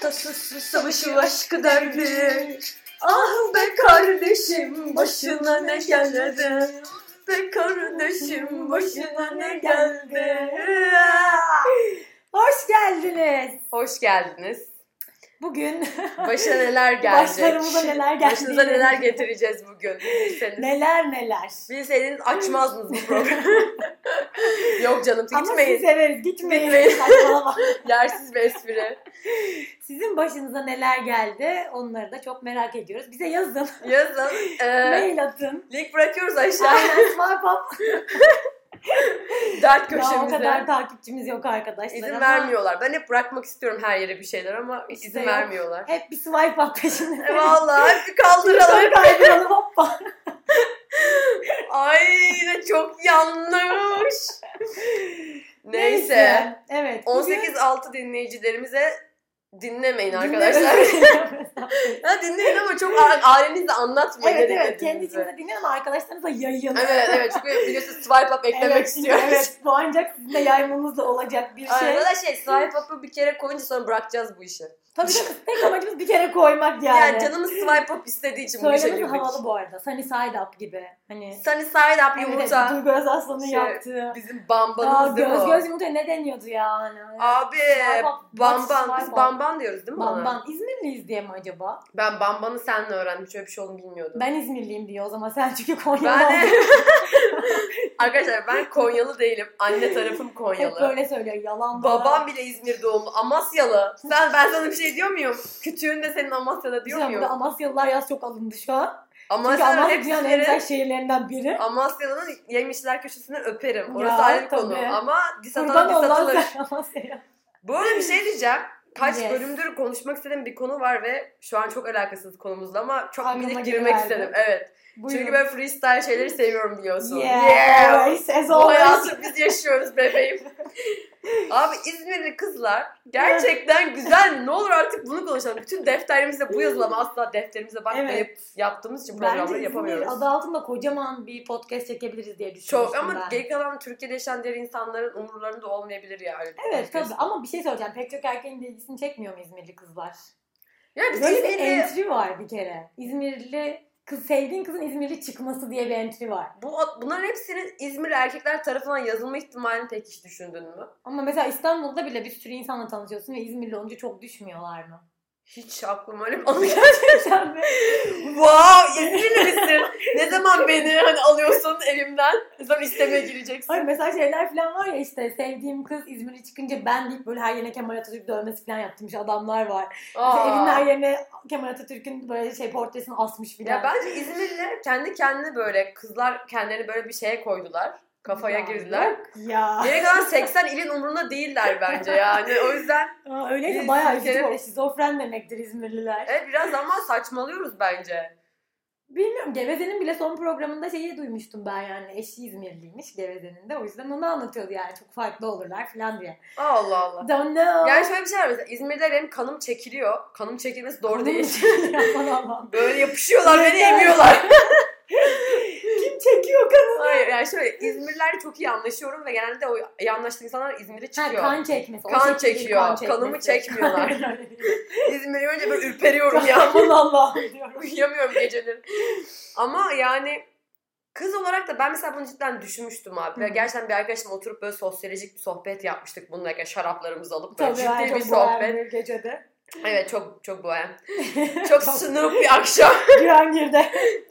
Tasasız savaşı aşkı derdi. Ah be kardeşim başına ne geldi. Be kardeşim başına ne geldi. Hoş geldiniz. Hoş geldiniz. Bugün Başa neler gelecek? başlarımıza neler geldi. Başınıza neler getireceğiz bugün. Bilseniz. Neler neler. Bilseniz açmazdınız bu programı. Yok canım Ama siz gitmeyin. severiz. Gitmeyin. Gitmeyin. Saçmalama. Yersiz bir espri. Sizin başınıza neler geldi onları da çok merak ediyoruz. Bize yazın. Yazın. E, Mail atın. link bırakıyoruz aşağıya. Esma Pop. Dert Daha o kadar köşemize. takipçimiz yok arkadaşlar. İzin ama vermiyorlar. Ben hep bırakmak istiyorum her yere bir şeyler ama İşte izin yok. vermiyorlar. Hep bir swipe up peşinde. E, Vallahi hep bir kaldıralım. Sonra kaydıralım hoppa. Ay yine çok yanlış. Neyse. Neyse. Evet. bugün- 18-6 dinleyicilerimize dinlemeyin arkadaşlar. Dinlemeyin. Ha, dinleyin ama çok a- ailenizle anlatmayın. evet ne evet. Kendi dinlediğinizi. içinize dinleyin ama arkadaşlarınıza yayın. Evet evet çünkü biliyorsun swipe up eklemek evet, istiyoruz. Evet bu ancak sizin de yaymanızla olacak bir şey. Arada şey swipe up'ı bir kere koyunca sonra bırakacağız bu işi. Tabii tabii tek amacımız bir kere koymak yani. Yani, canımız swipe up istediği için bu şey. işe Söylemesi girdik. havalı bu arada. Sunny side up gibi. Hani Sunny side up evet, yumurta. Duygu Özaslan'ın Şey, yaptığı. Bizim Aa, bambanımız değil mi göz o? göz yumurta ne deniyordu ya? Hani? Abi Swipe up, bamban. swipe Biz up. bamban diyoruz değil mi ona? Bamban. İzmirliyiz diye mi acaba? Ben bambanı senle öğrendim. Hiç öyle bir şey olduğunu bilmiyordum. Ben İzmirliyim diyor o zaman. Sen çünkü Konya'da Ben oldun. Arkadaşlar ben Konyalı değilim. Anne tarafım Hep Konyalı. böyle söylüyor. Yalan dolan. Babam bile İzmir doğumlu. Amasyalı. Sen ben sana bir şey diyor muyum? Kütüğün de senin Amasya'da diyor Güzel, burada muyum? Amasyalılar yaz çok alındı şu an. Çünkü Amasya'nın Amasya dünyanın en hepsini güzel şehirlerinden biri. Amasya'nın yemişler köşesinden öperim. Orası Ya, ayrı bir konu. tabii. Ama dis atana Kurban dis olan atılır. sen Amasya'ya. Bu arada bir şey diyeceğim. Kaç Yes. bölümdür konuşmak istediğim bir konu var ve şu an çok alakasız konumuzla ama çok Aklıma minik geliverdi. girmek istedim. Evet. Çünkü ben freestyle şeyleri seviyorum biliyorsun. Yeah, Yeah. always, as Bu always. hayatı biz yaşıyoruz bebeğim. Abi İzmirli kızlar gerçekten güzel. Ne olur artık bunu konuşalım. Bütün defterlerimizde bu yazılı ama asla defterimize bakmayıp yaptığımız için Hmm. Bence programları İzmir yapamıyoruz. adı altında kocaman bir podcast çekebiliriz diye düşünmüştüm Çok ama ben. geri kalan Türkiye'de yaşayan diğer insanların umurlarında olmayabilir yani. Evet tabii ama bir şey söyleyeceğim. Pek çok erkeğin de ilgisini çekmiyor mu İzmirli kızlar? Ya biz Böyle bir İzmirli- entry var bir kere. İzmirli kız sevdiğin kızın İzmirli çıkması diye bir entry var. Bu, bunların hepsinin İzmirli erkekler tarafından yazılma ihtimalini pek hiç düşündün mü? Ama mesela İstanbul'da bile bir sürü insanla tanışıyorsun ve İzmirli olunca çok düşmüyorlar mı? Hiç aklıma öyle bir anı gelmedi. Gerçekten mi? Wow İzmirli misin? ne zaman beni hani alıyorsun evimden? Ne zaman istemeye gireceksin? Hayır mesela şeyler falan var ya işte sevdiğim kız İzmir'e çıkınca ben deyip böyle her yerine Kemal Atatürk dövmesi falan yaptırmış adamlar var. Mesela evin her yerine Kemal Atatürk'ün böyle şey portresini asmış filan. Ya bence İzmirliler kendi kendine böyle kızlar kendilerini böyle bir şeye koydular. Kafaya Ya girdiler. yok Ya. Geri kalan 80 ilin umurunda değiller bence yani. O yüzden Aa, öyleyse Biz bayağı bir üzücü kere- böyle şizofren demektir İzmirliler. e, biraz ama saçmalıyoruz bence. Bilmiyorum Geveze'nin bile son programında şeyi duymuştum ben yani eşi İzmirliymiş Geveze'nin de o yüzden onu anlatıyordu yani çok farklı olurlar falan diye. Allah Allah. Don't know. Yani şöyle bir şey var mesela İzmir'de benim kanım çekiliyor. Kanım çekilmesi doğru Kanım değil. çekiyor, aman Allah'ım. Böyle yapışıyorlar beni Yeter. emiyorlar. Kim çekiyor kanı? Hayır yani şöyle İzmirlilerle çok iyi anlaşıyorum ve genelde o iyi anlaştığım insanlar İzmir'e Ha, çıkıyor. kan çekmesi. O Kan şekilde çekiyor, çekmesi. kanımı çekmiyorlar. Kan- İzmir'e önce böyle ürperiyorum ya. Aman Allah'ım diyorum. Uyuyamıyorum geceleri. Ama yani kız olarak da ben mesela bunu cidden düşünmüştüm abi. Ve Hı. gerçekten bir arkadaşımla oturup böyle sosyolojik bir sohbet yapmıştık. Bununla ilgili şaraplarımızı alıp böyle Tabii yani ciddi bir çok sohbet. boğar gecede. Evet çok çok boyan. Çok sınıf bir akşam. Cihangir'de.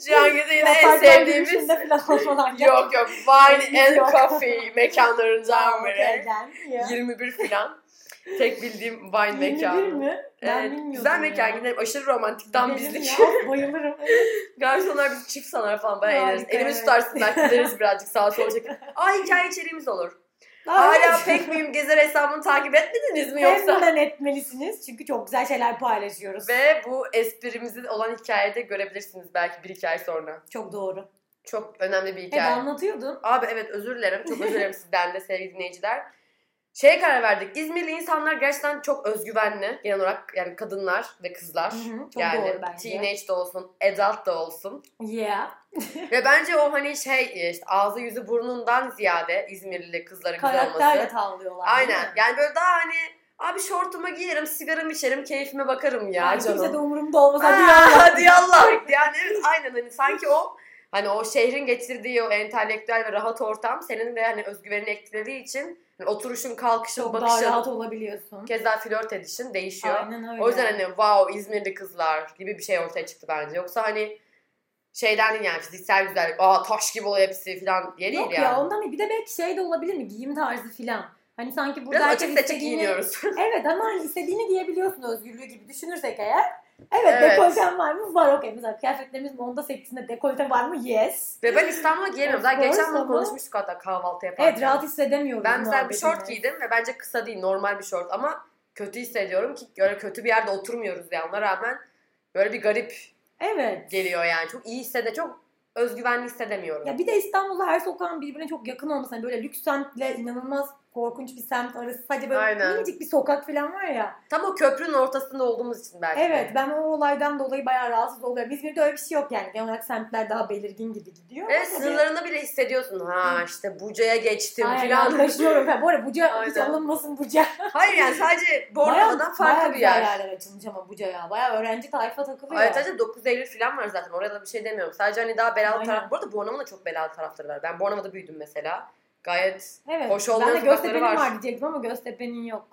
Cihangir'de yine en Yaparken sevdiğimiz. yürüyüşünde falan olmadan. Yok yok wine and Yok. coffee mekanlarından biri. Otelden. Ya. 21 falan. Tek bildiğim wine 21 mekanı. mi? Ben Evet, bilmiyordum güzel mekan ya. yine aşırı romantik tam Gidelim bizlik. ya, bayılırım. Garsonlar bizi çift sanar falan bayağı eğleniriz. Harika, Elimi evet. tutarsın belki gideriz birazcık sağa sola çekip. Aa hikaye içeriğimiz olur. Aa, Hala pek miyim gezer hesabını takip etmediniz mi yoksa? Hemen etmelisiniz çünkü çok güzel şeyler paylaşıyoruz. Ve bu esprimizi olan hikayede görebilirsiniz belki bir iki ay sonra. Çok doğru. Çok önemli bir Hep hikaye. anlatıyordun. Abi evet özür dilerim. Çok özür dilerim sizden de sevgili dinleyiciler. Şeye karar verdik. İzmirli insanlar gerçekten çok özgüvenli. Genel olarak yani kadınlar ve kızlar. Hı hı, Çok yani doğru bence. teenage de olsun, adult da olsun. Yeah. Ve bence o hani şey işte ağzı yüzü burnundan ziyade İzmirli kızların güzel olması. Karakterle tavlıyorlar. değil Aynen. mi? Yani böyle daha hani Abi şortumu giyerim, sigaramı içerim, keyfime bakarım ya yani canım. kimse de umurumda olmaz. Hadi Aa, ya. Hadi Allah. Yani evet, aynen hani sanki o hani o şehrin getirdiği o entelektüel ve rahat ortam senin de hani özgüvenini etkilediği için hani oturuşun, kalkışın, Çok daha bakışın, rahat olabiliyorsun. keza flört edişin değişiyor. Aynen öyle. O yüzden hani wow İzmirli kızlar gibi bir şey ortaya çıktı bence. Yoksa hani şeyden değil yani fiziksel güzellik, aa taş gibi oluyor hepsi falan diye değil Yok yani. ya ondan değil. Bir de belki şey de olabilir mi? Giyim tarzı filan. Hani sanki burada Biraz herkes açık seçik istediğini- giyiniyoruz. Evet ama hani istediğini giyebiliyorsun özgürlüğü gibi düşünürsek eğer. Evet, Evet. dekoltem var mı? Var okey. Mesela kıyafetlerimiz onda 8'inde dekolte var mı? Yes. Ve ben İstanbul'a giyemiyorum. Daha Of course geçen gün ama- konuşmuştuk hatta kahvaltı yaparken. Evet rahat hissedemiyoruz. Ben mesela bir şort muhabbetini. giydim ve bence kısa değil normal bir şort ama kötü hissediyorum ki böyle kötü bir yerde oturmuyoruz yani ona rağmen böyle bir garip Evet. geliyor yani. Çok iyi hissede çok özgüvenli hissedemiyorum. Ya bir de İstanbul'da her sokağın birbirine çok yakın olması. Hani böyle lüks semtle inanılmaz korkunç bir semt arası. Sadece böyle Aynen. minicik bir sokak falan var ya. Tam o köprünün ortasında olduğumuz için belki. de. Evet ben o olaydan dolayı bayağı rahatsız oluyorum. İzmir'de öyle bir şey yok yani. Genel olarak semtler daha belirgin gibi gidiyor. Evet Ama sınırlarını bile hissediyorsun. Ha işte Buca'ya geçtim Aynen falan. yaklaşıyorum falan. Bu arada Buca hiç Aynen. alınmasın Buca. Hayır yani sadece Bayağı- Bornova'dan bayağı farklı bir güzel yer. yerler açılmış ama Buca ya. Bayağı öğrenci tayfa takılıyor. Ayrıca 9 Eylül falan var zaten. Orada da bir şey demiyorum. Sadece hani daha belalı Aynen. taraf. Bu arada Bornova'nın da çok belalı tarafları var. Ben Bornova'da büyüdüm mesela. Gayet evet. hoş ben olmayan de sokakları Göztepe'nin var. var. diyecektim ama Göztepe'nin yok.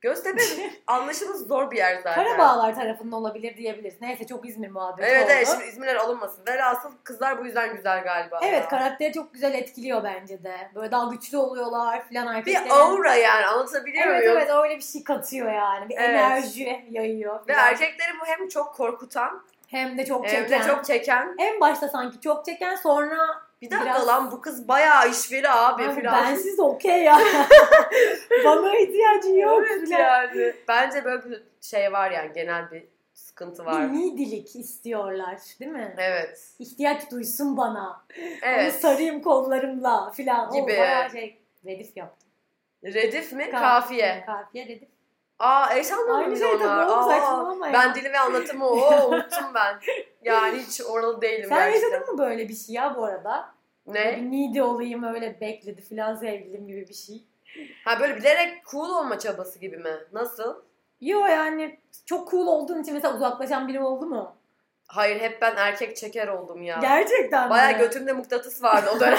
Göztepe anlaşılması zor bir yer zaten. Karabağlar tarafında olabilir diyebiliriz. Neyse çok İzmir muhabbeti Evet oldu. evet şimdi İzmirler alınmasın. Velhasıl kızlar bu yüzden güzel galiba. Evet Ya. karakteri çok güzel etkiliyor bence de. Böyle daha güçlü oluyorlar filan erkekler. Bir aura yani anlatabiliyor Evet muyum? evet öyle bir şey katıyor yani. Bir Evet. enerji yayıyor. Ve filan. erkekleri bu hem çok korkutan Hem de çok hem çeken. de çok çeken. En başta sanki çok çeken sonra Bir dakika Biraz- lan bu kız bayağı işveri abi, "Abi filan. bensiz okey ya. Bana ihtiyacın yok Evet filan. yani. Bence böyle bir şey var yani genel bir sıkıntı var. Bir nidilik istiyorlar değil mi? Evet. İhtiyaç duysun bana. Onu Evet. sarayım kollarımla filan. O Gibi. bayağı şey redif yaptı. Redif mi? Kafiye. Kafiye redif. Aa eş anlamlı Aynı mıydı şey tabii onlar? oğlum Aa, saçmalama ya. ben dili ve anlatımı o unuttum ben. Yani hiç oralı değilim Sen gerçekten. yaşadın mı böyle bir şey ya bu arada? Ne? Bir needy olayım öyle bekledi filan sevgilim gibi bir şey. Ha böyle bilerek cool olma çabası gibi mi? Nasıl? Yo yani çok cool olduğun için mesela uzaklaşan biri oldu mu? Hayır hep ben erkek çeker oldum ya. Gerçekten Baya mi? götümde mıknatıs vardı o dönem.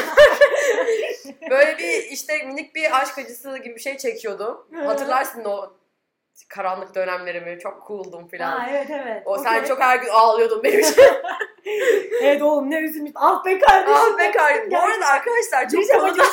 böyle bir işte minik bir aşk acısı gibi bir şey çekiyordum. Hı. Hatırlarsın o karanlık dönemlerimi. Çok cooldum Ha, falan. evet evet. O sen Okey. çok her gün ağlıyordun benim için. Evet oğlum ne üzülmüş. Ah be kardeşim. ah be kardeşim. Bu arada arkadaşlar çok Diyeceğim, konuda...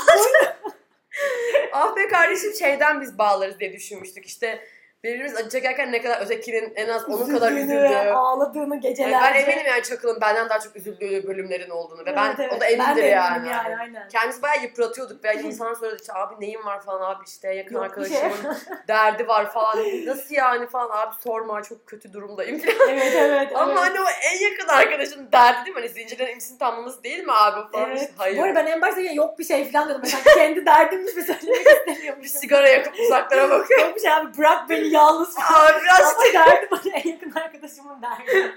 ah be kardeşim şeyden biz bağlarız diye düşünmüştük. İşte birbirimiz acı çekerken ne kadar ötekinin en az onun kadar Üzüldüğünü, ah, üzüldüğü. Ağladığını Yani gecelerce. ben eminim yani Çakıl'ın benden daha çok üzüldüğü bölümlerin olduğunu ve ben Evet, evet. o da Ben de emindir eminim yani. yani aynen. Kendisi bayağı yıpratıyorduk ve insanlar söyledi işte abi neyin var falan abi işte yakın Yok bir şey. arkadaşımın derdi var falan. Nasıl yani falan abi sorma çok kötü durumdayım falan. evet evet. Ama evet. hani o en yakın arkadaşın derdi değil mi? Hani zincirlerin imsini tamamız değil mi abi falan. Evet. İşte hayır. Bu arada ben en başta yine yok bir şey falan dedim. Mesela kendi derdimmiş ve söylemek Bir istemiyormuşum. sigara yakıp uzaklara bakıyor. yok bir şey abi bırak beni yalnız falan. Abi biraz Ama derdim bana en yakın arkadaşımın derdi.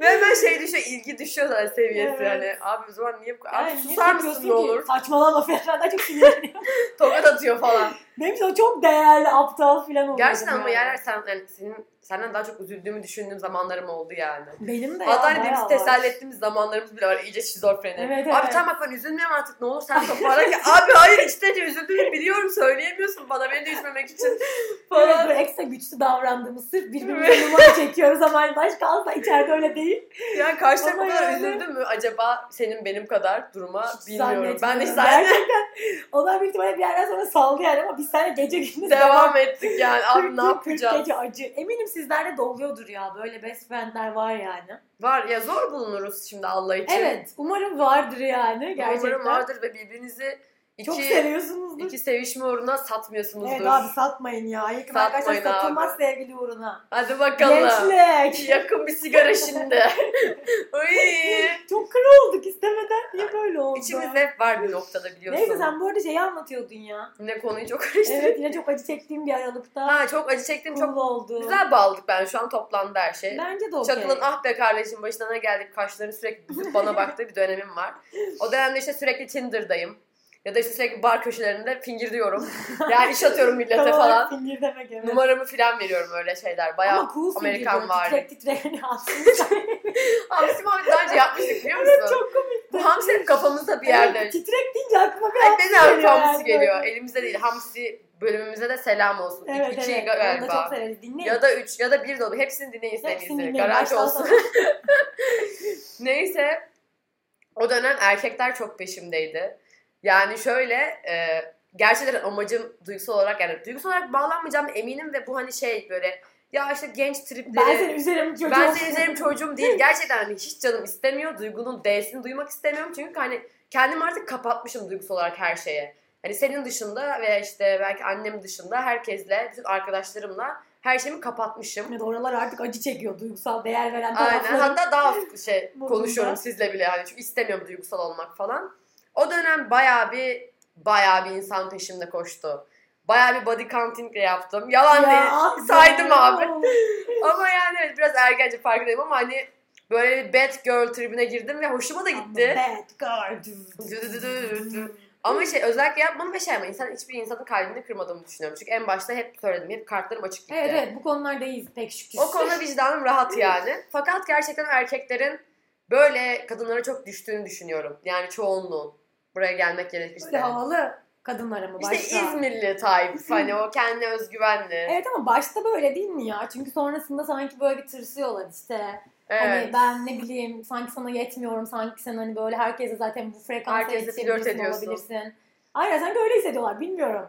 ve hemen şey düşüyor ilgi düşüyor zaten seviyesi Evet. yani. Abi o zaman niye bu kadar? Abi Yani niye susar yapıyorsun mısın ne ki? olur? Saçmalama falan. Daha çok sinirleniyor. Tokat atıyor falan. Benim için o çok değerli aptal falan oluyor. Gerçekten ama yerler sen, yani senin, senden daha çok üzüldüğümü düşündüğüm zamanlarım oldu yani. Benim de ya. Hatta hani bayağı birbirimizi var. teselli ettiğimiz zamanlarımız bile var. iyice şizofreni. Evet, Abi evet. tamam bak ben üzülmüyorum artık ne olur sen toparla ki. Abi hayır işte de üzüldüğünü biliyorum söyleyemiyorsun bana beni de üzmemek için Evet falan. böyle ekstra güçlü davrandığımız sırf birbirimize numara çekiyoruz ama hani başka asla içeride öyle değil. yani karşı taraf o Ama kadar yani- üzüldü mü acaba senin benim kadar duruma Hiç bilmiyorum. Ben de zannetmiyorum. sen Gerçekten onlar büyük ihtimalle bir yerden sonra saldı yani ama biz seninle gece gündüz devam ettik yani abi ne Kırk- kırk yapacağız? gece acı. Eminim sizlerde de oluyordur ya böyle best friendler var yani. Var ya zor bulunuruz şimdi Allah için. Evet umarım vardır yani gerçekten. Umarım vardır ve birbirinizi iki, Çok seviyorsunuzdur. iki sevişme uğruna satmıyorsunuzdur. Evet abi satmayın ya. Yakın Satmayın arkadaşlar abi. satılmaz sevgili uğruna. Hadi bakalım. Gençlik. Yakın bir sigara şimdi. Oy. Çok kral olduk istemeden. Niye böyle oldu? İçimizde hep var bir noktada biliyorsun. Neyse sen bu arada şeyi anlatıyordun ya. Yine konuyu çok karıştırdın. Evet yine çok acı çektiğim bir aralıkta. Ha çok acı çektim Cool çok oldu. güzel bağladık ben şu an toplandı her şey. Bence de okey. Çakıl'ın ah be kardeşim başına ne geldik kaşlarını sürekli büzüp bana baktığı bir dönemim var. O dönemde işte sürekli Tinder'dayım. Ya da işte sürekli bar köşelerinde fingir diyorum. yani iş atıyorum millete Tam olarak falan. Fingir demek evet. Numaramı filan veriyorum öyle şeyler. Bayağı Ama cool Amerikan Amerikan var. var. Titrek titrek hani aslında. Abi bizim abi daha önce yapmıştık biliyor musun? çok komik. Bu hamsi hep kafamızda bir yerde. Evet, titrek deyince aklıma bir Ay hamsi ne zaman geliyor hamsi yani. geliyor. Elimizde değil. Hamsi bölümümüze de selam olsun. Evet iki evet. Onu da çok şey galiba. severiz. Dinleyin. Ya da üç ya da bir de olur. Hepsini dinleyin Hepsini sevgilisi. dinleyin. Garanti Baştan olsun. sona. Neyse o dönem erkekler çok peşimdeydi. Yani şöyle e, gerçekten amacım duygusal olarak yani duygusal olarak bağlanmayacağım eminim ve bu hani şey böyle ya işte genç tripleri Ben seni üzerim çocuğum. ben senin üzerim çocuğum değil. Gerçekten hani hiç canım istemiyor. Duygunun D'sini duymak istemiyorum. Çünkü hani kendimi artık kapatmışım duygusal olarak her şeye. Hani senin dışında ve işte belki annem dışında herkesle, bütün arkadaşlarımla her şeyimi kapatmışım. Evet, oralar artık acı çekiyor. Duygusal değer veren Aynen. tarafları. Hatta daha şey Modunda. konuşuyorum sizle bile yani çünkü istemiyorum duygusal olmak falan. O dönem bayağı bir bayağı bir insan peşimde koştu. Bayağı bir body counting de yaptım. Yalan değil. Saydım abi. Ama yani evet biraz ergence farkındayım ama hani böyle bir bad girl tribüne girdim ve hoşuma da gitti. Bad girl. Dü dü dü dü dü. Ama şey özellikle yapmadım ve şey ama insan hiçbir insanın kalbini kırmadığımı düşünüyorum. Çünkü en başta hep söyledim. Hep kartlarım açık gitti. Evet evet bu konulardayız pek şükür. O konuda vicdanım rahat yani. Fakat gerçekten erkeklerin böyle kadınlara çok düştüğünü düşünüyorum. Yani çoğunluğun. Buraya gelmek gerekirse. Böyle havalı kadınlara mı işte başta? İzmirli tayf hani o kendine özgüvenli. Evet ama başta böyle değil mi ya? Çünkü sonrasında sanki böyle bir tırsıyorlar işte. Evet. Hani ben ne bileyim sanki sana yetmiyorum. Sanki sen hani böyle herkese zaten bu frekansa Herkese flört yetişebilirsin, ediyorsun. olabilirsin. Aynen sanki öyle hissediyorlar bilmiyorum.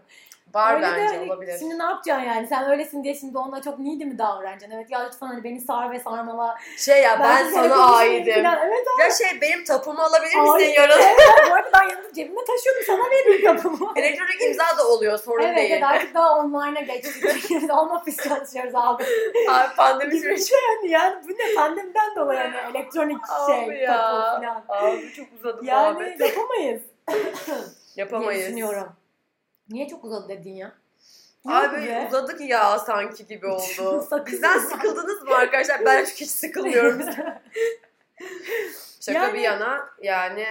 Var öyle bence de hani olabilir. şimdi ne yapacaksın yani? Sen öylesin diye şimdi onunla çok needy mi davranacaksın? Evet ya lütfen hani beni sar ve sarmala. Şey ya ben, bir kere sana konuşmayayım aidim. falan. Evet Ya şey benim tapumu alabilir misin Ay. yarın? evet. bu arada ben yanımda cebimde taşıyorum. Sana veririm kapımı. Elektronik imza da oluyor sorun Evet, değil. evet artık daha online'a geçtik. Home office çalışıyoruz abi. Abi pandemi Gibi bir süreci. şey yani, yani bu ne pandemiden dolayı hani elektronik Abi şey ya. kapı falan. Abi çok uzadı Yani muhabbet. yapamayız diye Yapamayız. düşünüyorum. Niye çok uzadı dedin ya? Abi Yok be. uzadık ya sanki gibi oldu. Sakız Bizden mı? sıkıldınız mı arkadaşlar? Ben çünkü hiç sıkılmıyorum. Şaka Yani- bir yana yani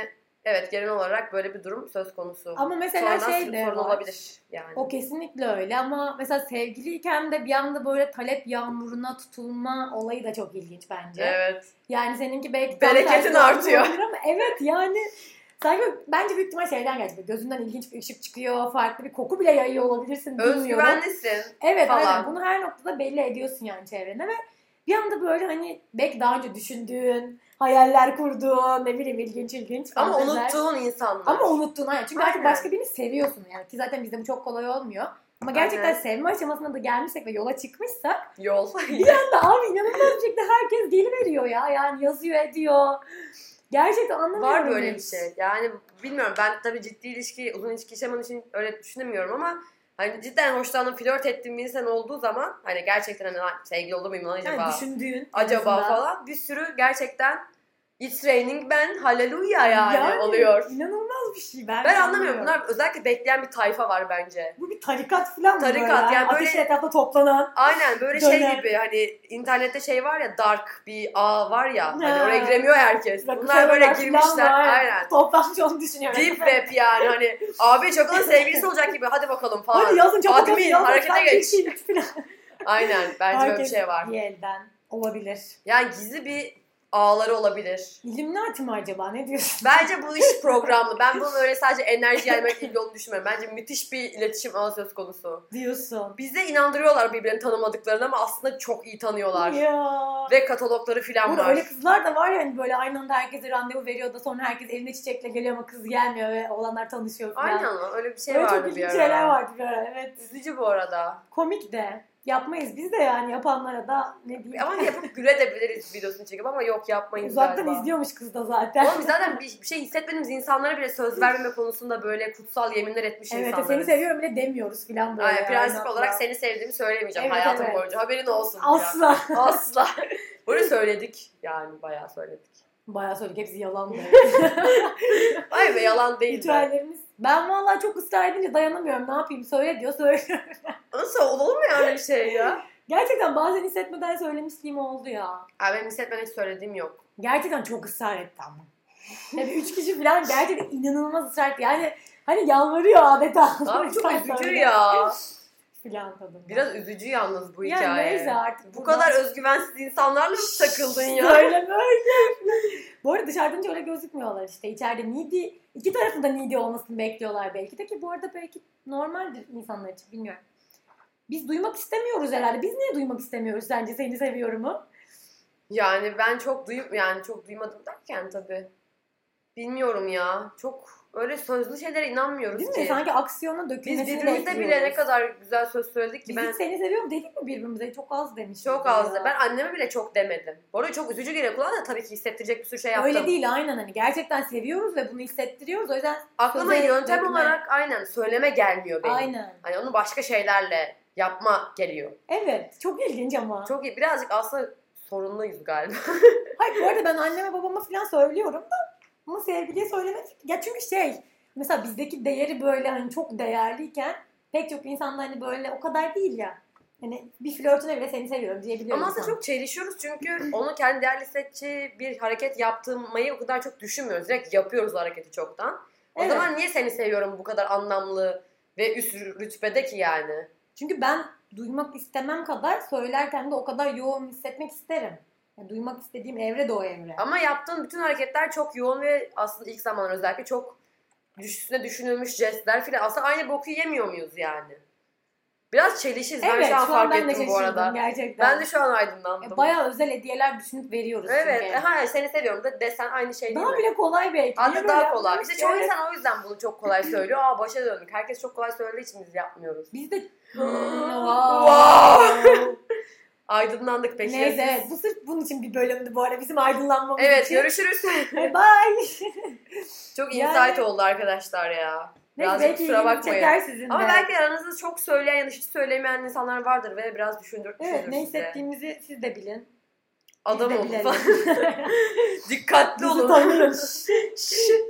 evet genel olarak böyle bir durum söz konusu. Ama mesela Sonradan şey sırf de sorun var. olabilir yani. O kesinlikle öyle ama mesela sevgiliyken de bir anda böyle talep yağmuruna tutulma olayı da çok ilginç bence. Evet. Yani seninki belki Bereketin tam tersi artıyor. olabilir Ama evet yani sanki bence büyük ihtimal şeyden geldi. Gözünden ilginç bir ışık çıkıyor. Farklı bir koku bile yayıyor olabilirsin. bilmiyorum. Özgüvenlisin. Evet falan. aynen. Bunu her noktada belli ediyorsun yani çevrene ve bir anda böyle hani belki daha önce düşündüğün, hayaller kurduğun, ne bileyim ilginç ilginç Ama fanteziler. unuttuğun insanlar. Ama unuttuğun aynen. Çünkü artık Aynen. başka birini seviyorsun yani. Ki zaten bizde bu çok kolay olmuyor. Ama Aynen. gerçekten sevme aşamasına da gelmişsek ve yola çıkmışsak Yol. ben de abi inanılmaz bir şekilde herkes geliveriyor ya. Yani yazıyor ediyor. Gerçekten anlamıyorum. Var böyle bir hiç. şey. Yani bilmiyorum ben tabii ciddi ilişki, uzun ilişki yaşaman için öyle düşünemiyorum ama hani cidden hoşlandığım, flört ettiğim bir insan olduğu zaman hani gerçekten hani "Lan sevgili olur muyum lan acaba? Yani düşündüğün. acaba en azından. falan bir sürü gerçekten it's raining ben haleluya yani, oluyor. İnanılmaz bir şey. Ben, Ben anlamıyorum. Bunlar özellikle bekleyen bir tayfa var bence. Bu bir tarikat falan mı? Tarikat, böyle? yani böyle- Ateş etrafında toplanan. Aynen böyle Dönem. şey gibi hani internette şey var ya dark bir ağ var ya hani Ha. oraya giremiyor herkes. Bunlar rakısalar böyle falan girmişler var. aynen. Toplanmış onu düşünüyorum. Deep web yani hani abi çok olan sevgilisi olacak gibi hadi bakalım falan. Hadi yazın çabuk Admin, hadi yazın. harekete Sen geç. kişilik falan. Aynen bence böyle bir Herkes şey var. Bir elden olabilir. Yani gizli bir ağları olabilir. İlluminati mi acaba ne diyorsun? Bence bu iş programlı. Ben bunun öyle sadece enerji yaymak ilgili olduğunu düşünmüyorum. Bence müthiş bir iletişim ağı söz konusu. Diyorsun. Bize inandırıyorlar birbirini tanımadıklarını ama aslında çok iyi tanıyorlar. Ya. Ve katalogları Bu filan da var. öyle kızlar da var ya hani böyle aynı anda herkese randevu veriyor da sonra herkes elinde çiçekle geliyor ama kız gelmiyor ve olanlar tanışıyor falan. Aynen lan öyle bir şey Böyle çok vardı bir ilginç ara. şeyler vardı bir ara evet. Üzücü bu arada. Komik de. Yapmayız biz de yani yapanlara da ne diyeyim. Ama yapıp gülebiliriz videosunu çekip ama yok yapmayın Uzaktan galiba. izliyormuş kız da zaten. Oğlum biz zaten bir, bir şey hissetmediğimiz insanlara bile söz vermeme konusunda böyle kutsal yeminler etmiş evet insanlarız. seni seviyorum bile demiyorum filan böyle. Aynen, yani prensip hatta. olarak seni sevdiğimi söylemeyeceğim Evet, hayatım evet. boyunca. Haberin olsun. filan. Asla. Asla. Bunu söyledik yani bayağı söyledik. Bayağı söyledik hepsi yalan böyle. Ay be yalan değil de. Ritüellerimiz. Ben vallahi çok ısrar edince dayanamıyorum ne yapayım söyle diyor söylüyorum. Nasıl olur mu yani bir şey ya? Gerçekten bazen hissetmeden söylemişliğim oldu ya. Abi benim hissetmeden hiç söylediğim yok. Gerçekten çok ısrar etti ama. Yani üç kişi falan gerçekten inanılmaz ısrar etti. Yani Hani yalvarıyor adeta. Abi çok Lütfen üzücü söyle. ya. Filan tadında. Biraz üzücü yalnız bu yani hikaye. neyse artık. Bu buradan- kadar özgüvensiz insanlarla mı takıldın ya? Söyleme öyle. bu arada dışarıdan hiç öyle gözükmüyorlar işte. İçeride needy, iki tarafında needy olmasını bekliyorlar belki de ki bu arada belki normaldir insanlar için bilmiyorum. Biz duymak istemiyoruz herhalde. Biz niye duymak istemiyoruz sence seni seviyorumu? Yani ben çok duyup yani çok duymadım derken tabii. Bilmiyorum ya. Çok öyle sözlü şeylere inanmıyoruz Değil ki. mi? Sanki aksiyona Biz dökülmesini birbirimize bile ne bekliyoruz. kadar güzel söz söyledik ki Biz ben hiç seni seviyorum dedik mi birbirimize? Çok az demiş. çok azdı. Ben anneme bile çok demedim. Bu arada çok üzücü geliyor kulağa da tabii ki hissettirecek bir sürü şey yaptım. Öyle değil aynen hani gerçekten seviyoruz ve bunu hissettiriyoruz o yüzden Aklıma Söze yöntem dökme. olarak aynen söyleme gelmiyor benim. aynen. Hani onu başka şeylerle yapma geliyor. Evet çok ilginç ama. Çok iyi. Birazcık aslında sorunluyuz galiba. Hayır bu arada ben anneme babama falan söylüyorum da ama sevgiliye söylemek ya çünkü şey mesela bizdeki değeri böyle hani çok değerliyken pek çok insanda hani böyle o kadar değil ya. Hani bir flörtüne bile seni seviyorum diyebiliyor Ama aslında insan. çok çelişiyoruz çünkü onu kendi değerli hissetçi bir hareket yaptırmayı o kadar çok düşünmüyoruz. Direkt yapıyoruz o hareketi çoktan. O Evet. zaman niye seni seviyorum bu kadar anlamlı ve üst rütbede ki yani? Çünkü ben duymak istemem kadar söylerken de o kadar yoğun hissetmek isterim. Yani duymak istediğim evre de o evre. Ama yaptığın bütün hareketler çok yoğun ve aslında ilk zamanlar özellikle çok üstüne düşünülmüş jestler filan. Aslında aynı boku yemiyor muyuz yani? Biraz çelişiz. ben evet şu an fark ben de ettim bu şaşırdım arada. gerçekten. Ben de şu an aydınlandım. E, Bayağı özel hediyeler düşünüp veriyoruz Evet. çünkü. E, hayır seni seviyorum da desen aynı şey değil Daha mi? bile kolay belki. Niye Aslında böyle daha kolay. yapmıyoruz İşte ki? çoğu Evet. insan o yüzden bunu çok kolay söylüyor. Aa başa döndük. Herkes çok kolay söylediği için biz yapmıyoruz. Biz de Wow. Aydınlandık peki. Neyse evet, bu sırf bunun için bir bölümdü bu arada bizim aydınlanmamız Evet için. görüşürüz. Bye bye. çok insight Yani- oldu arkadaşlar ya. Neyse Birazcık belki kusura ilgimi bakmayın. çeker sizin Ama de. belki aranızda çok söyleyen ya da hiç söylemeyen insanlar vardır ve biraz düşündür, Evet ne size. hissettiğimizi siz de bilin. Adam Biz de olun. bilelim. Dikkatli Bizi olun. tanıyın.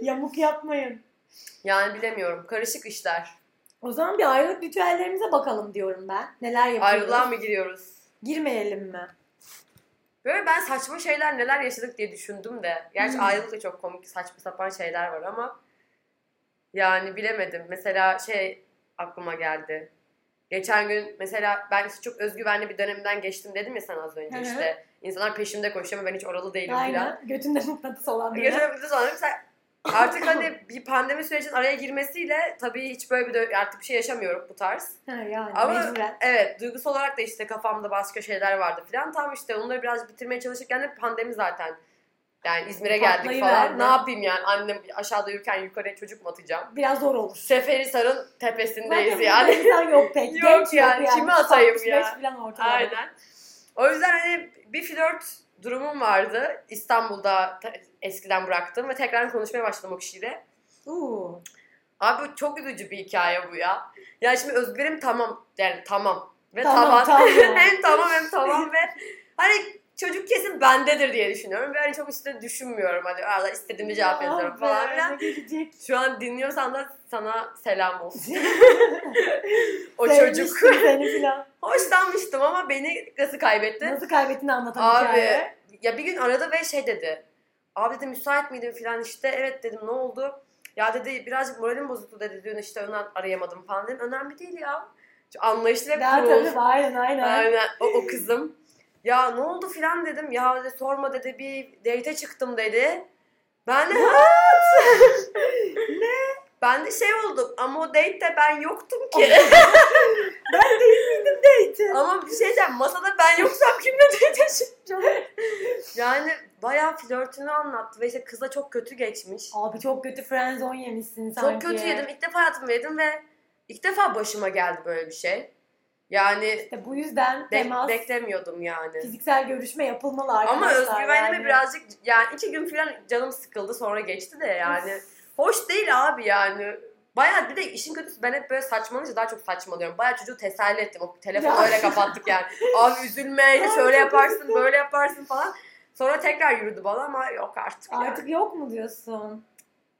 Yamuk yapmayın. Yani bilemiyorum. Karışık işler. O zaman bir ayrılık ritüellerimize bakalım diyorum ben. Neler yapıyoruz? Ayrılığa mı giriyoruz? Girmeyelim mi? Böyle ben saçma şeyler neler yaşadık diye düşündüm de. Gerçi Hmm. ayrılık da çok komik saçma sapan şeyler var ama yani bilemedim. Mesela şey aklıma geldi. Geçen gün mesela ben işte çok özgüvenli bir dönemden geçtim dedim ya sen az önce Hı hı. işte. İnsanlar peşimde koşuyor ama ben hiç oralı değilim falan. Aynen. Götünde mıknatıs olan biri. Yaşanabiliriz sonra mesela artık hani bir pandemi sürecinin araya girmesiyle tabii hiç böyle bir dö- artık bir şey yaşamıyorum bu tarz. Ha, yani Ama- mecburen. Evet duygusal olarak da işte kafamda başka şeyler vardı filan. Tam işte onları biraz bitirmeye çalışırken de pandemi zaten. Yani İzmir'e geldik falan. Patlayıverdi. Ne yapayım yani annem aşağıda yürürken yukarıya çocuk mu atacağım? Biraz zor olur. Seferihisar'ın tepesindeyiz Zaten yani. burada insan yok pek. Yok Genç yani, kimi atayım ya? 65 falan ortalama. Aynen. O yüzden hani bir flört durumum vardı. İstanbul'da te- eskiden bıraktım ve tekrar konuşmaya başladım o kişiyle. Uuu. Abi çok üzücü bir hikaye bu ya. Yani şimdi özgürüm tamam yani tamam ve Tamam, tamam. tamam. hem tamam hem tamam ve hani çocuk kesin bendedir diye düşünüyorum. Ve hani çok üstüne düşünmüyorum hani arada istediğimi cevap Ya yazıyorum be, falan ne filan. gelecek? Şu an dinliyorsan da sana selam olsun. o Sevmiştim çocuk. seni falan. Hoşlanmıştım ama beni nasıl kaybetti? Nasıl kaybettiğini anlatan Abi hikaye. ya bir gün aradı ve şey dedi. Abi dedi müsait miydin filan işte evet dedim ne oldu? Ya dedi birazcık moralim bozuktu dedi dün işte onu arayamadım falan dedim. Önemli değil ya. Çok anlayışlı ve Daha cool. tabii aynen aynen. Aynen o, o kızım. Ya ne oldu filan dedim. Ya dedi, sorma dedi bir date çıktım dedi. Ben de ne? Ben de şey oldum ama o date'te ben yoktum ki. Neydi? ama bir şey diyeceğim masada ben yoksam kimle date Yani bayağı flörtünü anlattı ve işte kıza çok kötü geçmiş. Abi çok kötü friendzone yemişsin Çok sanki. kötü yedim. İlk defa hayatımda yedim ve ilk defa başıma geldi böyle bir şey. Yani İşte bu yüzden be- temas, beklemiyordum yani. fiziksel görüşme yapılmalı Ama arkadaşlar. özgüvenime yani. birazcık yani iki gün falan canım sıkıldı sonra geçti de yani. Hoş değil abi yani. Bayağı bir de işin kötüsü ben hep böyle saçmalayınca daha çok saçmalıyorum. Bayağı çocuğu teselli ettim. O telefonu Ya. öyle kapattık yani. Abi üzülme Ay, şöyle çok yaparsın böyle yaparsın falan. Sonra tekrar yürüdü bana ama yok artık. yani. Artık yok mu diyorsun?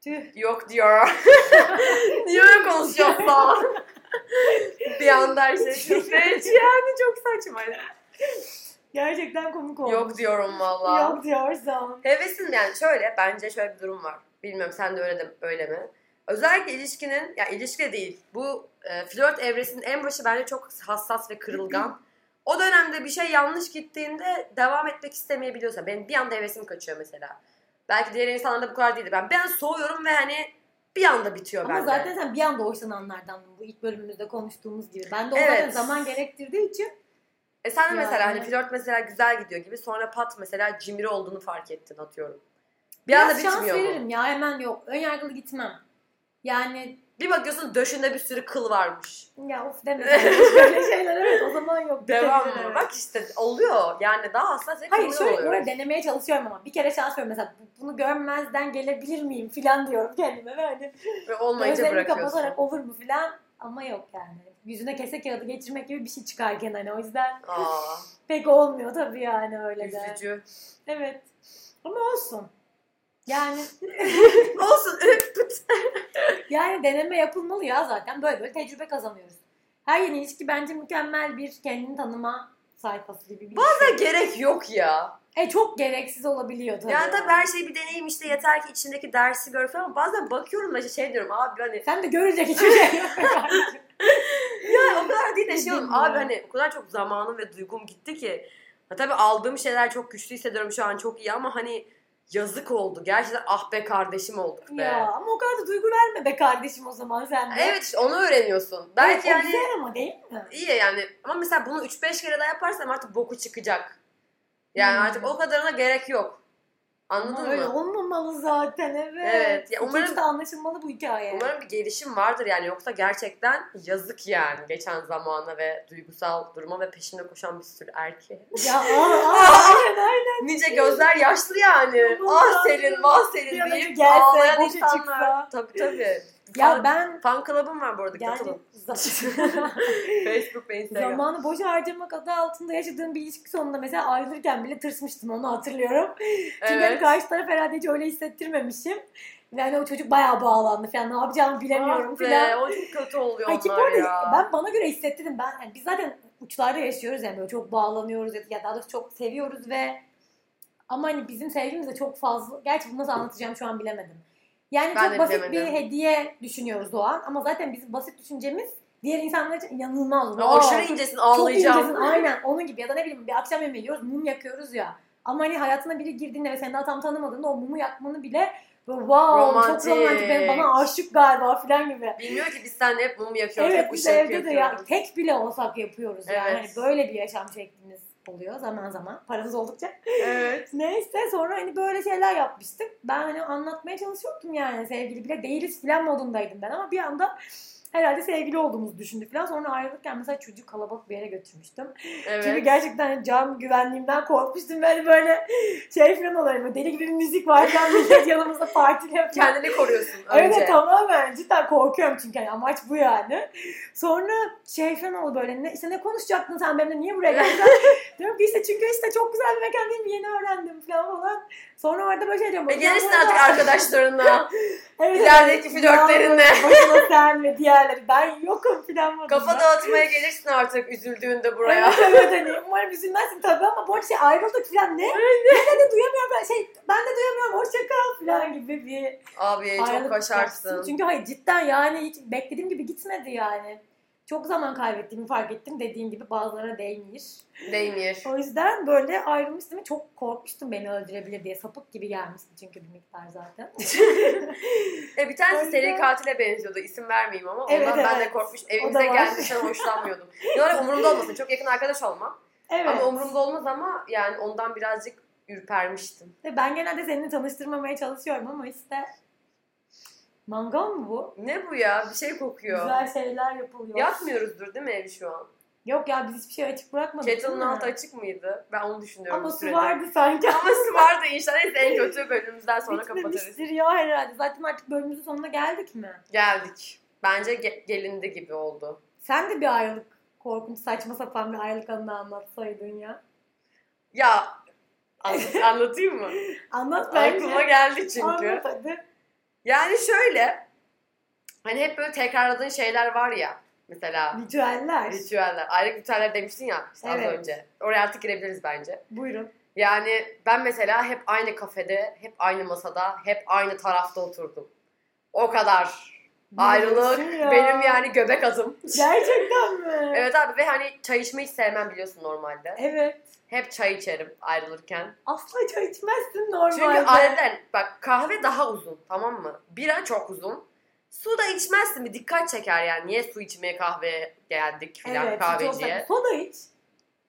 Tüh. Yok diyor. Niye öyle konuşuyorsun? bir anda her şey çok feci yani çok saçma. Gerçekten komik oldu. Yok diyorum valla. Yok diyorsun. Hevesin yani şöyle bence şöyle bir durum var. Bilmiyorum sen de öyle de öyle mi? Özellikle ilişkinin, ya ilişki de değil, bu e, flört evresinin en başı bence çok hassas ve kırılgan. O dönemde bir şey yanlış gittiğinde devam etmek istemeyebiliyorsa, benim bir anda hevesim kaçıyor mesela. Belki diğer insanlarda bu kadar değildi. Ben ben soğuyorum ve hani bir anda bitiyor Ama bende. zaten sen bir anda hoşlananlardan bu ilk bölümümüzde konuştuğumuz gibi. Ben de o Evet. zaten zaman gerektirdiği için E sen de mesela Yani. hani flört mesela güzel gidiyor gibi sonra pat mesela cimri olduğunu fark ettin atıyorum. Bir biraz anda şans bitmiyor mu? veririm ya hemen yok. Önyargılı gitmem. Yani Bir bakıyorsun döşünde bir sürü kıl varmış. ya of deme. Böyle şeyler evet o zaman yok. Devam Bitebilir, mı? evet. Bak işte oluyor. Yani daha hassas ve Hayır kırılgan şöyle oluyor. böyle denemeye çalışıyorum ama bir kere şans veriyorum mesela bu- bunu görmezden gelebilir miyim filan diyorum kendime böyle. Ve olmayınca Gözlerimi bırakıyorsun. kapatarak olur mu filan ama yok yani. Yüzüne kese kağıdı geçirmek gibi bir şey çıkarken hani o yüzden Aa, pek olmuyor tabii yani öyle de. üzücü. Evet ama olsun. Yani Olsun. yani deneme yapılmalı ya zaten böyle böyle tecrübe kazanıyoruz. Her yeni ilişki bence mükemmel bir kendini tanıma sayfası gibi bir Bazen Gerek yok ya. E çok gereksiz olabiliyor tabii. Yani tabii her şey bir deneyim işte yeter ki içindeki dersi gör falan. Bazen bakıyorum da şey diyorum abi hani Sen de görecek hiçbir şey yok. ya o kadar değil de şey oğlum, Bilmiyorum. abi hani o kadar çok zamanım ve duygum gitti ki. Ha, tabii aldığım şeyler çok güçlü hissediyorum şu an çok iyi ama hani yazık oldu. Gerçekten ah be kardeşim olduk be. Ya ama o kadar da duygu verme be kardeşim o zaman sen de. Evet işte onu öğreniyorsun. Evet, Belki o yani güzel ama değil mi? iyi yani ama mesela bunu 3-5 kere daha yaparsam artık boku çıkacak. Yani Hmm. artık o kadarına gerek yok. Anladın Ama mı? Öyle olmamalı zaten evet. Evet, ya İki umarım- uçta anlaşılmalı bu hikaye. Umarım bir gelişim vardır yani yoksa gerçekten yazık yani geçen zamana ve duygusal duruma ve peşinde koşan bir sürü erkeğe. Ya aa, aa, aynen aynen. Nice gözler yaşlı yani. Aman ah senin, vah Şey Bir senin an önce deyip gelse, ağlayan boşa insanlar. çıksa. Tabii tabii. Ya fan, ben fan club'ım var bu arada yani katılın. zaman- Facebook ve Instagram. zamanı boşa harcamak adı altında yaşadığım bir ilişki sonunda mesela ayrılırken bile tırsmıştım onu hatırlıyorum. Çünkü hani evet. Ah karşı taraf herhalde hiç öyle hissettirmemişim. Yani o çocuk bayağı bağlandı falan ne yapacağımı bilemiyorum Ah be, falan. O çok kötü oluyor Ay ki bu onlar arada ya. ben bana göre hissettirdim. Ben, yani biz zaten uçlarda yaşıyoruz yani böyle çok bağlanıyoruz ya, ya daha doğrusu çok seviyoruz ve ama hani bizim sevgimiz de çok fazla. Gerçi bunu nasıl anlatacağım şu an bilemedim. Yani Ben de çok basit bilemedim. bir hediye düşünüyoruz o an ama zaten bizim basit düşüncemiz diğer insanlar için inanılmaz. Ya Aa, Aşırı incesin çok incesin ağlayacağım. aynen onun gibi ya da ne bileyim bir akşam yemeği yiyoruz mum yakıyoruz ya. Ama hani hayatına biri girdiğinde ve seni daha tam tanımadığında o mumu yakmanı bile böyle wow Romantik. çok romantik ben- bana aşık galiba falan gibi. Bilmiyor ki biz seninle hep mum yakıyoruz. Evet hep biz ışık evde de ya, yakıyoruz. tek bile olsak yapıyoruz yani. Evet. Hani böyle bir yaşam şeklimiz oluyor zaman zaman. Paramız oldukça. Evet. Neyse sonra hani böyle şeyler yapmıştık. Ben hani anlatmaya çalışıyordum yani sevgili bile değiliz filan modundaydım ben ama bir anda herhalde sevgili olduğumuzu düşündük filan. Sonra ayrılırken mesela çocuğu kalabalık bir yere götürmüştüm. Evet. Çünkü gerçekten cam güvenliğimden korkmuştum. Ben böyle şey falan olayım. böyle Deli gibi bir müzik varken millet yanımızda partili yapıyor. Kendini koruyorsun önce. Öyle tamamen cidden korkuyorum çünkü hani amaç bu yani. Sonra şey falan oldu böyle ne, işte ne konuşacaktın sen benimle niye buraya geldin? diyorum ki işte çünkü işte çok güzel bir mekan değil mi yeni öğrendim falan falan. Sonra orada böyle şey diyorum. E "Ya gelirsin bu arada- artık arkadaşlarına. Evet, ilerideki evet. flörtlerine." Ya, Başına sen ve diğerleri ben yokum falan. modunda. Kafa dağıtmaya gelirsin artık üzüldüğünde buraya. Evet evet hani umarım üzülmezsin tabii ama bu arada şey ayrıldık falan ne? ben de duyamıyorum ben şey ben de duyamıyorum hoşça kal falan gibi bir Abi Ee, çok Ayrılık başarsın. yaparsın. Çünkü hayır cidden yani hiç beklediğim gibi gitmedi yani. Çok zaman kaybettiğimi fark ettim. Dediğim gibi bazılarına değmiş. Değmir. O yüzden böyle ayrılmıştım ve çok korkmuştum beni öldürebilir diye. Sapık gibi gelmişti çünkü bir miktar zaten. E bir O tanesi yüzden- seri katile benziyordu. İsim vermeyeyim ama ondan Evet, ben de evet. korkmuş. O da Evimize var. gelmişten hoşlanmıyordum. Diyorlar umurumda olmasın. Çok yakın arkadaş olmam. Evet. Ama umurumda olmaz ama yani ondan birazcık ürpermiştim. Ve Ben genelde seninle tanıştırmamaya çalışıyorum ama işte mangal mı bu? Ne bu ya? Bir şey kokuyor. Güzel şeyler yapılıyor. Yapmıyoruzdur değil mi evi şu an? Yok ya biz hiçbir şey açık bırakmadık. Kettle'ın değil mi? altı açık mıydı? Ben onu düşünüyorum. Ama bir su süredir. vardı sanki. Ama su vardı inşallah. Neyse en kötü bölümümüzden sonra kapatarız. Bitmemiştir ya herhalde. Zaten artık bölümümüzün sonuna geldik mi? Geldik. Bence ge- gelindi gibi oldu. Sen de bir ayrılık korkunç saçma sapan bir ayrılık anını anlatsaydın ya. Ya an- anlatayım mı? Anlat bence. Aklıma geldi çünkü. Anlat hadi. Yani şöyle hani hep böyle tekrarladığın şeyler var ya mesela Ritüeller. ritüeller. Aylık ritüeller demiştin ya işte az Evet. önce. Oraya artık girebiliriz bence. Buyurun. Yani ben mesela hep aynı kafede, hep aynı masada, hep aynı tarafta oturdum. O kadar Ayrılık diyorsun ya? benim yani göbek atım. Gerçekten mi? Evet abi ve hani çay içmeyi hiç sevmem biliyorsun normalde. Evet. Hep çay içerim ayrılırken. Asla çay içmezsin normalde. Çünkü ayrılırken bak kahve daha uzun tamam mı? Bira çok uzun. Su da içmezsin bir dikkat çeker yani. Niye su içmeye kahveye geldik filan Evet, hiç olsa- kahveciye. Soda iç.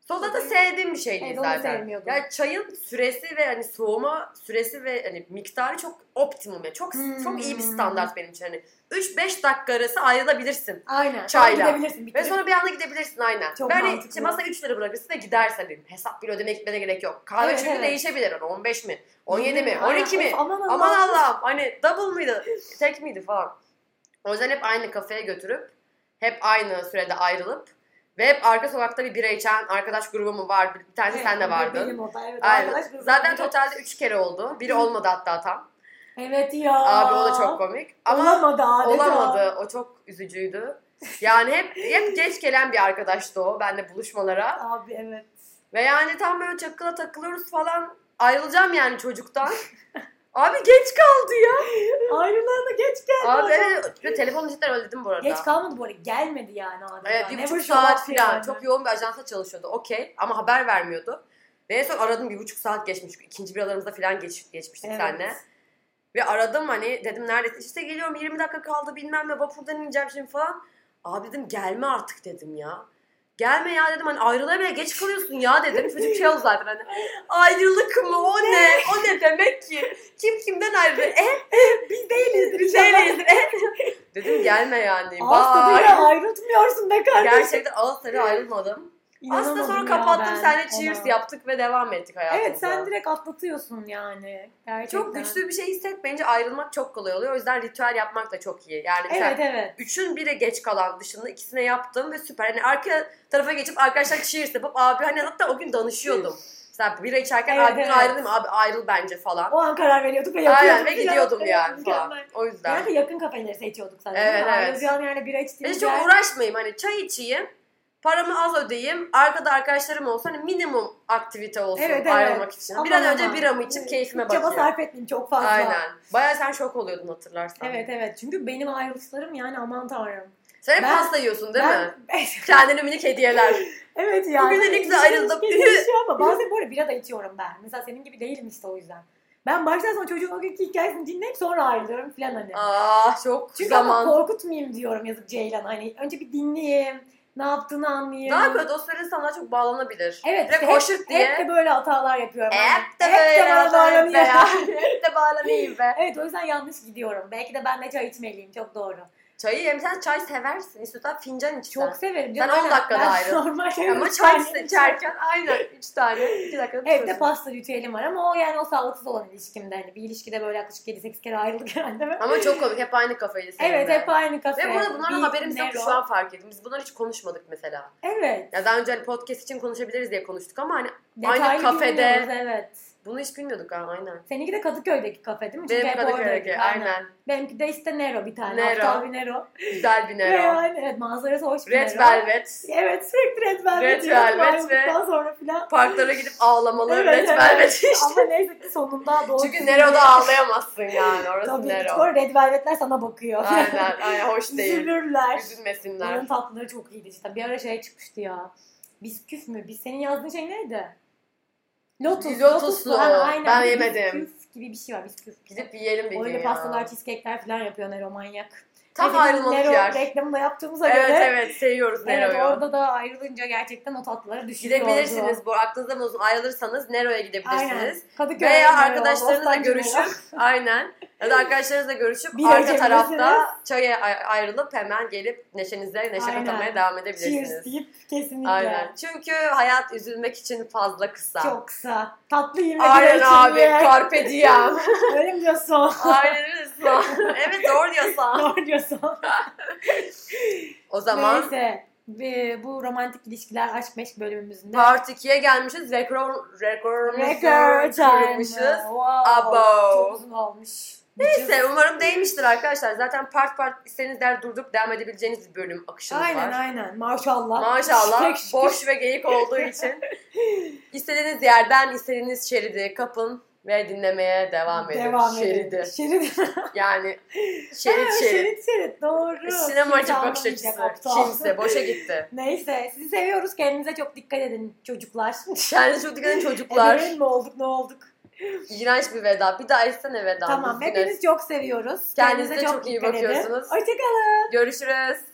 Soda da sevdiğim bir şey değil Evet, onu da zaten. sevmiyordum. Ya çayın süresi ve hani soğuma süresi ve hani miktarı çok optimum ya. Çok Hmm. çok iyi bir standart benim için. Hani 3-5 dakika arası ayrılabilirsin. Aynen. Çayla. Sonra gidebilirsin. Ve bitirip- sonra bir anda gidebilirsin aynen. Çok Çok yani mantıklı. işte masaya 3 lira bırakırsın ve gidersen dedim. Hesap bile ödemeye gitmene gerek yok. Kahve Evet, çünkü evet. değişebilir. Hani 15 mi? 17 mi? Aynen. 12 mi? Of, aman Allah'ım. Aman Allah'ım hani double mıydı? Tek miydi falan. O yüzden hep aynı kafeye götürüp hep aynı sürede ayrılıp ve hep arka sokakta bir bira içen arkadaş grubu mu vardı? Bir tanesi Evet, sen de bu vardın. Benim o da, evet. Aynen. Arkadaş grubu- Zaten totalde 3 kere oldu. Biri olmadı hatta tam. Evet ya. Abi o da çok komik. Ama olamadı adeta. olamadı. O çok üzücüydü. Yani hep hep geç gelen bir arkadaştı o. Ben de buluşmalara. Abi evet. Ve yani tam böyle çakıla takılıyoruz falan. Ayrılacağım yani çocuktan. Abi geç kaldı ya. Ayrılığına geç geldi. Abi adam. evet. Ve Telefonu cidden ödedim bu arada. Geç kalmadı bu arada. Gelmedi yani adeta. Evet bir Ne buçuk boşu var saat falan. yani. Çok yoğun bir ajansa çalışıyordu. Okey ama haber vermiyordu. Ve en son aradım bir buçuk saat geçmiş. İkinci biralarımızda falan geç, geçmiştik Evet. seninle. Ve aradım hani dedim neredesin? İşte geliyorum 20 dakika kaldı bilmem ne vapurdan ineceğim şimdi falan. Abi dedim gelme artık dedim ya. Gelme ya dedim hani ayrılığa bile geç kalıyorsun ya dedim. Çocuk şey oldu zaten hani ayrılık mı o ne o ne demek ki? Kim kimden ayrıldı? E Biz değiliz. biz değiliz. E? Dedim gelme yani. Asla Bye. böyle ayrılmıyorsun be kardeşim. Gerçekten Ağustos'ta ayrılmadım. Aslında sonra kapattım seninle cheers yaptık ve devam ettik hayatımıza. Evet sen direkt atlatıyorsun yani. Gerçekten. Çok güçlü bir şey hissetmeyince ayrılmak çok kolay oluyor. O yüzden ritüel yapmak da çok iyi. Yani sen Evet evet. üçün biri geç kalan dışında ikisine yaptım ve süper. Hani arka tarafa geçip arkadaşlar cheers yapıp abi hani hatta o gün danışıyordum. Mesela bira içerken Evet, abi bugün evet. ayrılayım mı? abi ayrıl bence falan. O an karar veriyorduk ve yapıyorduk. Aynen ve filan. gidiyordum Evet, yani mükemmel. falan. O yüzden. Genelde yakın kafeleri seçiyorduk zaten. Evet, Yani evet. Ayrılacağın yani bira içtiğimiz Ben hiç çok uğraşmayayım hani çay içeyim. Paramı az ödeyeyim. Arkada arkadaşlarım olsa hani minimum aktivite olsun Evet, evet. ayrılmak için. bir Aman an önce aman. biramı içip keyfime Hiç çaba bakayım. sarf etmeyeyim çok fazla. Aynen. Baya sen şok oluyordun hatırlarsan. Evet evet çünkü benim ayrılışlarım yani aman tanrım. Sen hep Ben- pasta yiyorsun değil mi? Ben- Kendine minik hediyeler. evet yani. Bugün de ne güzel İlişki- ayrıldım. ilişki yaşıyor şey ama bazen bu arada bira da içiyorum ben. Mesela senin gibi değilim işte o yüzden. Ben baştan sona çocuğun o günkü hikayesini dinleyip sonra ayrılıyorum falan hani. Aa çok Çünkü zaman. ama korkutmayayım diyorum yazık Ceylan. Hani önce bir dinleyeyim, ne yaptığını anlayayım. Daha kötü o süre sana çok bağlanabilir. Evet, Ve işte hoşnut hep, diye. hep de böyle hatalar yapıyorum. ben. Hep de böyle bana bağlanayım be bağlanıyor. ya. Hep de bağlanayım be. Evet o yüzden yanlış gidiyorum. Belki de ben de çay içmeliyim. Çok doğru. Çayı hem sen çay seversin. İstiyorsan fincan iç Çok sen. severim. Sen Canım, 10 dakikada ben ayrıl. Normal Ama çay içerken aynen 3 tane 2 dakikada Evde bitiyorsun. pasta ritüelim var ama o yani o sağlıksız olan ilişkimde. Hani bir ilişkide böyle yaklaşık 7-8 kere ayrıldık herhalde. Ben. Ama çok komik hep aynı kafayı seninle. Evet hep aynı kafe. Ve bu arada bunların bir haberimiz yok Nero. şu an fark ettim. Biz bunları hiç konuşmadık mesela. Evet. Ya daha önce hani podcast için konuşabiliriz diye konuştuk ama hani Detaylı Aynı kafede. bilmiyoruz, Evet. bunu hiç bilmiyorduk ha aynen. Seninki de Kadıköy'deki kafe değil mi? Çünkü Benim hep oradaydık, Kadıköy'deki aynen. Benimki de işte Nero bir tane. Nero. Aptal bir Nero. Güzel bir Ve Nero. yani evet manzarası hoş bir Red Nero. Velvet. Evet sürekli Red Velvet. Red yiyorum Velvet ve- ayrıldıktan sonra filan. Parklara gidip ağlamalı Evet, Red evet. Velvet işte. Ama neyse ki sonunda doğru. Çünkü Nero'da ağlayamazsın yani. Orası Tabii ki Nero. sonra Red Velvet'ler sana bakıyor. Aynen, aynen hoş değil. Üzülürler. Üzülmesinler. Onun tatlıları çok iyiydi işte. Bir ara şey çıkmıştı ya. Bisküf mü? Biz senin yazdığın şey neydi? Lotus. Lotuslu. Ha, aynen. Ben Bir yemedim. Bisküf gibi bir şey var. Bisküf. Gidip yiyelim bir gün Öyle ya. pastalar, cheesecake'ler falan yapıyor Nero manyak. Tam Dediğim ayrılmalık Nero yer. reklamını da yaptığımıza Evet göre. evet seviyoruz Evet Nero'yu. orada şey da ayrılınca gerçekten o tatlıları düşürüyordu. Gidebilirsiniz bu aklınızda bulunsun. Ayrılırsanız Nero'ya Aynen. gidebilirsiniz. Kadıköy Veya Nero, arkadaşlarınızla Bostancı Nero. görüşüp aynen. Ya da arkadaşlarınızla görüşüp Bir arka içebilirsiniz. tarafta çaya ay- ayrılıp hemen gelip neşenize neşe Aynen. katamaya devam Cheers edebilirsiniz. deyip kesinlikle. Aynen. Çünkü hayat üzülmek için fazla kısa. Çok kısa. Tatlı yemek Aynen abi. Carpe diem. Öyle mi diyorsun? Aynen öyle. Evet doğru diyorsan. Doğru diyorsun. O zaman Neyse. Ee, Bu romantik ilişkiler aşk meşk bölümümüzün de part 2'ye gelmişiz. Rekor, rekorumuzu Record time. kırmışız. Wow. Abo. Çok uzun olmuş. Neyse umarım değmiştir arkadaşlar. Zaten part part istediğiniz der durduk devam edebileceğiniz bir bölüm akışımız Aynen var. aynen. Maşallah. Maşallah Tek şükür. boş ve geyik olduğu için. istediğiniz yerden istediğiniz şeridi kapın. Ve dinlemeye devam ediyor. Devam Şeridi. edelim. Şerit. Yani Ha, şerit şerit. şerit şerit. Doğru. Sinemacı Kimse bakış açısı. anlamayacak, aptal. Kimse boşa gitti. Neyse sizi seviyoruz. Kendinize çok dikkat edin çocuklar. Kendinize çok dikkat edin çocuklar. Ebeveyn mi olduk ne olduk? İğrenç bir veda. Bir daha etsene veda. Tamam Biz yine- hepiniz çok seviyoruz. Kendinize çok iyi dikkat edin. bakıyorsunuz. Hoşça kalın. Görüşürüz.